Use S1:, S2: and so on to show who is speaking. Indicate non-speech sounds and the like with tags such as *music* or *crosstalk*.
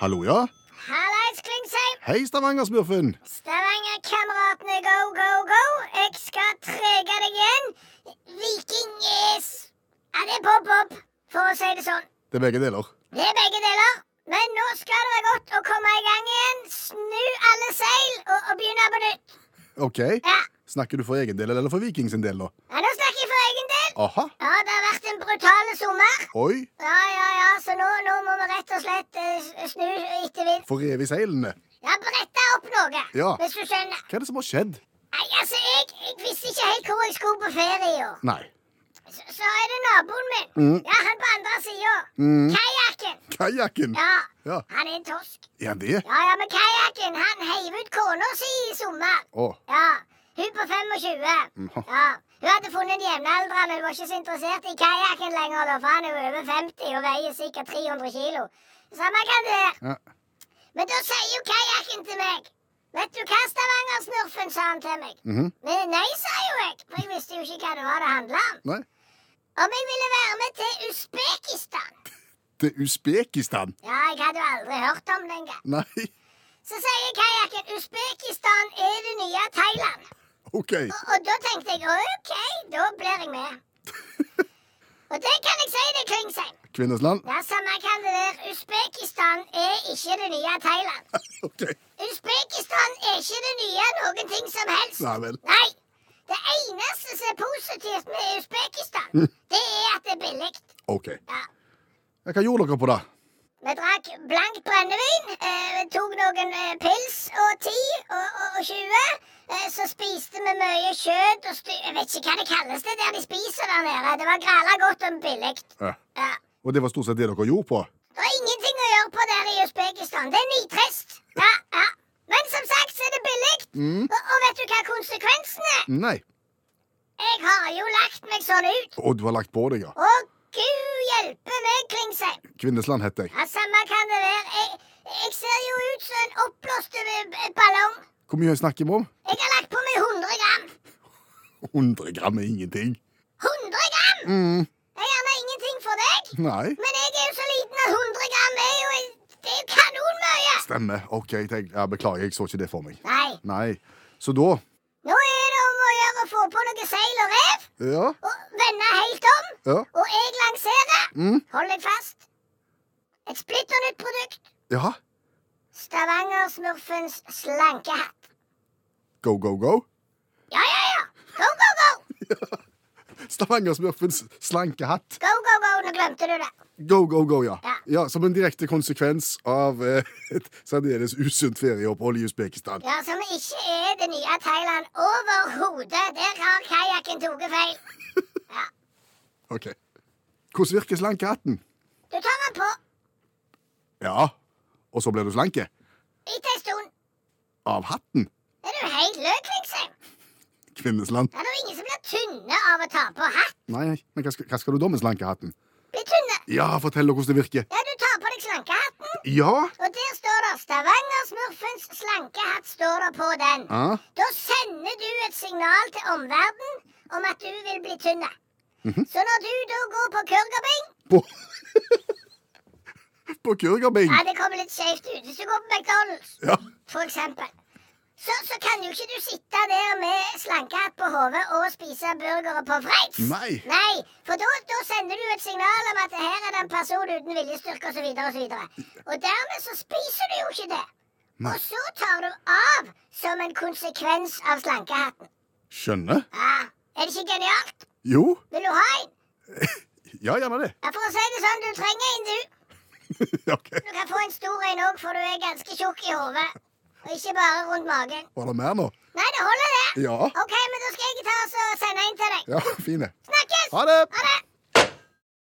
S1: Hallo, ja?
S2: Hallais, Klingsheim!
S1: Hei, Stavanger-smurfen.
S2: Stavanger-kameratene, go, go, go! Jeg skal trege deg igjen. Viking is Ja, det er bob, bob, for å si det sånn.
S1: Det er begge deler.
S2: Det er begge deler. Men nå skal det være godt å komme i gang igjen. Snu alle seil og, og begynne på nytt.
S1: OK.
S2: Ja.
S1: Snakker du for egen del eller for Viking sin del, da?
S2: ja, nå snakker jeg for egen del.
S1: Aha.
S2: Ja, det har vært en brutal sommer.
S1: Oi.
S2: Ja, ja, ja, så nå, nå må vi rett og slett eh, s- snu etter vind.
S1: For rev i seilene.
S2: Ja, brette opp noe,
S1: Ja.
S2: hvis du skjønner.
S1: Hva er det som har skjedd?
S2: Nei, altså, jeg, jeg visste ikke helt hvor jeg skulle på ferie i år.
S1: Nei.
S2: Så, så er det naboen min.
S1: Mm.
S2: Ja, han på andre sida.
S1: Mm.
S2: Kajakken.
S1: Kajakken.
S2: Ja,
S1: Ja.
S2: han er en torsk.
S1: Er han det?
S2: Ja, ja, men kajakken, han heiv ut kona si i sommer.
S1: Å.
S2: Ja, hun på 25.
S1: Mhm.
S2: Ja, Hun hadde funnet en jevnaldrende, hun var ikke så interessert i kajakken lenger, da, for han er jo over 50 og veier sikkert 300 kilo. Samme kan det være.
S1: Ja.
S2: Men da sier jo kajakken til meg Vet du hva, Stavanger-smurfen, sa han til meg.
S1: Mhm.
S2: Men nei, sa jo jeg, for jeg visste jo ikke hva det var det handla om.
S1: Nei.
S2: Om jeg ville være med til Usbekistan.
S1: Til Usbekistan?
S2: Ja, jeg hadde jo aldri hørt om det engang.
S1: Nei.
S2: Så sier kajakken Usbekistan er det nye Thailand.
S1: OK.
S2: Og, og da tenkte jeg OK, da blir jeg med. Og det kan jeg si deg, Klingsheim.
S1: Kvinnesland?
S2: Det samme kan det være. Usbekistan er ikke det nye Thailand.
S1: OK.
S2: Usbekistan er ikke det nye noen ting som helst.
S1: Nei vel.
S2: Nei. Det eneste som er positivt med Usbekistan, det er at det er billig.
S1: OK.
S2: Ja.
S1: Ja, Hva gjorde dere på det?
S2: Vi drakk blankt brennevin, eh, tok noen eh, pils og 10 og, og, og 20. Eh, så spiste vi mye kjøtt og sty... Jeg vet ikke hva det kalles det der de spiser der nede. Det var gralla godt og billig.
S1: Ja.
S2: Ja.
S1: Og det var stort sett det dere gjorde på?
S2: Det er ingenting å gjøre på der i Usbekistan. Det er nitrist. Ja, ja. Men som sagt så er det billig.
S1: Mm.
S2: Og, og vet du hva konsekvensen er?
S1: Nei.
S2: Jeg har jo lagt meg sånn ut.
S1: Og du har lagt på deg, ja.
S2: Å, gud hjelpe meg, Klingsheim.
S1: Kvinnesland heter jeg.
S2: Ja, samme kan det være. Jeg, jeg ser jo ut som en oppblåst eh, b- ballong.
S1: Hvor mye snakker vi om?
S2: Jeg har lagt på meg 100 gram.
S1: 100 gram er ingenting.
S2: 100 gram!
S1: Mm.
S2: Det er gjerne ingenting for deg,
S1: Nei.
S2: men jeg er jo så liten at 100 gram er jo, det er jo kanonmye.
S1: Stemmer. OK, tenk. Ja, beklager, jeg så ikke det for meg.
S2: Nei,
S1: Nei. Så da
S2: nå er det om å gjøre å få på noe seil og rev,
S1: Ja.
S2: og vende helt om,
S1: Ja.
S2: og jeg lanserer.
S1: Mm.
S2: Hold deg fast. Et splitter nytt produkt.
S1: Ja.
S2: Stavanger-smurfens slankehatt.
S1: Go, go, go.
S2: Ja, ja, ja. Go, go, go.
S1: Stavanger-smurfens slanke hatt.
S2: Go, go, go. Nå glemte du det.
S1: Go, go, go, ja.
S2: Ja.
S1: ja som en direkte konsekvens av eh, et særdeles usunt ferieopphold i Usbekistan.
S2: Ja, som ikke er det nye Thailand overhodet. Der har kajakken tatt feil.
S1: OK. Hvordan virker slankehatten?
S2: Du tar den på
S1: Ja. Og så blir du slanke?
S2: etter ei stund.
S1: Av hatten?
S2: Er du helt løk, Klingsheim?
S1: Kvinnesland.
S2: Det er jo ingen som blir tynne av å ta på hatt.
S1: Nei, men hva skal, hva skal du da med slankehatten?
S2: Blir tynne.
S1: Ja, fortell hvordan det virker.
S2: Ja, du tar på deg slankehatten,
S1: Ja?
S2: og der står det 'Stavanger-smurfens slankehatt' står det på den.
S1: Ah,
S2: Da sender du et signal til omverdenen om at du vil bli tynne. Så når du da går på kurgabing
S1: på *laughs* På kurgabing.
S2: Ja, det kommer litt skjevt ut. Hvis du går på McDonald's
S1: Ja.
S2: for eksempel, så, så kan jo ikke du sitte der med slankehatt på hodet og spise burgere på Freits.
S1: Nei.
S2: Nei, for da, da sender du et signal om at her er det en person uten viljestyrke osv. Og, så videre, og, så videre. og dermed så spiser du jo ikke det.
S1: Nei.
S2: Og så tar du av som en konsekvens av slankehatten.
S1: Skjønner?
S2: Ja, er det ikke genialt?
S1: Jo.
S2: Vil du ha en?
S1: Ja, gjerne det.
S2: Ja, For å si det sånn, du trenger en, du.
S1: *laughs* ok.
S2: Du kan få en stor en òg, for du er ganske tjukk i hodet. Og ikke bare rundt magen.
S1: Var det mer nå?
S2: Nei, det holder, det.
S1: Ja.
S2: OK, men da skal jeg ta oss og sende en til deg.
S1: Ja, fine.
S2: Snakkes!
S1: Ha det!
S2: Ha det!